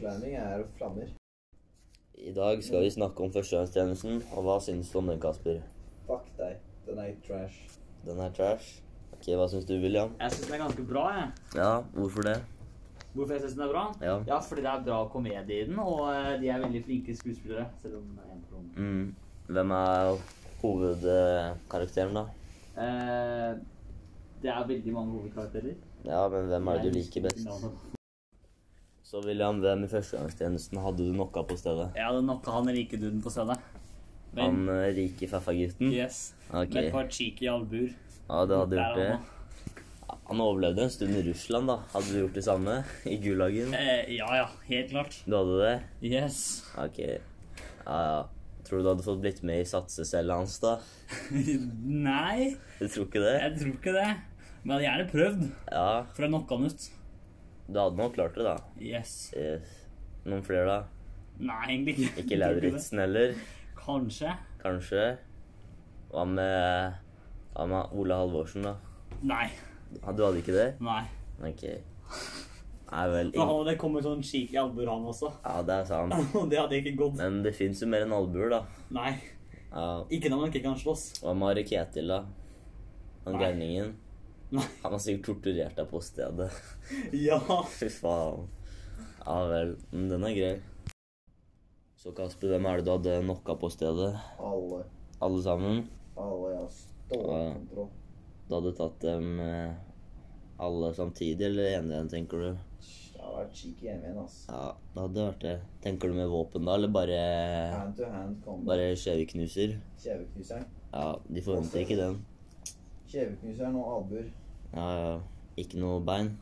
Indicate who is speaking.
Speaker 1: er det flammer.
Speaker 2: I dag skal vi snakke om førstegangstjenesten, og hva syns du om den, Kasper?
Speaker 1: Fuck deg. Den er trash.
Speaker 2: Den er trash. Ok, hva syns du, William?
Speaker 3: Jeg syns den er ganske bra. jeg.
Speaker 2: Ja, hvorfor det?
Speaker 3: Hvorfor jeg syns den er bra?
Speaker 2: Ja.
Speaker 3: ja, fordi det er bra komedie i den, og eh, de er veldig flinke skuespillere. Selv om det er en person.
Speaker 2: Mm. Hvem er hovedkarakteren, da?
Speaker 3: Eh, det er veldig mange hovedkarakterer.
Speaker 2: Ja, men hvem er det du
Speaker 3: Jeg
Speaker 2: liker
Speaker 3: husker ikke
Speaker 2: best?
Speaker 3: navnet.
Speaker 2: Så William, hvem i førstegangstjenesten hadde du knocka på stedet?
Speaker 3: Jeg hadde knocka han rike duden på stedet. Men
Speaker 2: Han eh, rike faffagutten?
Speaker 3: yes.
Speaker 2: Ok.
Speaker 3: Med et par cheeky albuer.
Speaker 2: Ja, du hadde
Speaker 3: Der
Speaker 2: gjort det.
Speaker 3: han var.
Speaker 2: Han overlevde en stund i Russland, da. Hadde du gjort det samme i Gulagen?
Speaker 3: Eh, ja ja, helt klart.
Speaker 2: Du hadde det?
Speaker 3: Yes.
Speaker 2: Ok. Ja, ja. Tror du du hadde fått blitt med i satsecella hans, da?
Speaker 3: Nei,
Speaker 2: Du tror ikke det?
Speaker 3: jeg tror ikke det. Men jeg hadde gjerne prøvd,
Speaker 2: Ja,
Speaker 3: for jeg knocka han ut.
Speaker 2: du hadde nok klart det, da.
Speaker 3: Yes.
Speaker 2: Yes. Noen flere, da?
Speaker 3: Nei, egentlig ikke.
Speaker 2: Ikke
Speaker 3: Jeg tror det.
Speaker 2: Lauritzen heller?
Speaker 3: Kanskje.
Speaker 2: Kanskje? Hva med, hva med Ola Halvorsen, da?
Speaker 3: Nei.
Speaker 2: Ja, Du hadde ikke det?
Speaker 3: Nei.
Speaker 2: Ok. Nei vel.
Speaker 3: Da
Speaker 2: ing-
Speaker 3: hadde det kommet sånn skikkelig albuer, han også.
Speaker 2: Ja, det er sant.
Speaker 3: Og det hadde ikke gått.
Speaker 2: Men det fins jo mer enn albuer, da.
Speaker 3: Nei.
Speaker 2: Ja,
Speaker 3: Ikke når man ikke kan slåss.
Speaker 2: Hva med Are Ketil, da? Han
Speaker 3: Nei.
Speaker 2: gærningen?
Speaker 3: Nei.
Speaker 2: Han har sikkert torturert deg på stedet.
Speaker 3: Ja.
Speaker 2: Fy faen. Ja vel. Men den er grei. Så Kasper, hvem er det du hadde knocka på stedet?
Speaker 1: Alle.
Speaker 2: Alle sammen?
Speaker 1: Alle jeg har stålkontroll.
Speaker 2: Du hadde tatt dem eh, alle samtidig, eller én igjen, tenker du?
Speaker 1: Det har vært cheeky hjemme igjen, ass.
Speaker 2: Ja, det hadde vært det. Tenker du med våpen da, eller bare,
Speaker 1: Hand to hand combat.
Speaker 2: bare skjeveknuser?
Speaker 1: Kjeveknuseren.
Speaker 2: Ja, de forventer ikke den.
Speaker 1: Kjeveknuseren og albuer.
Speaker 2: Ja, ja. Ikke noe bein.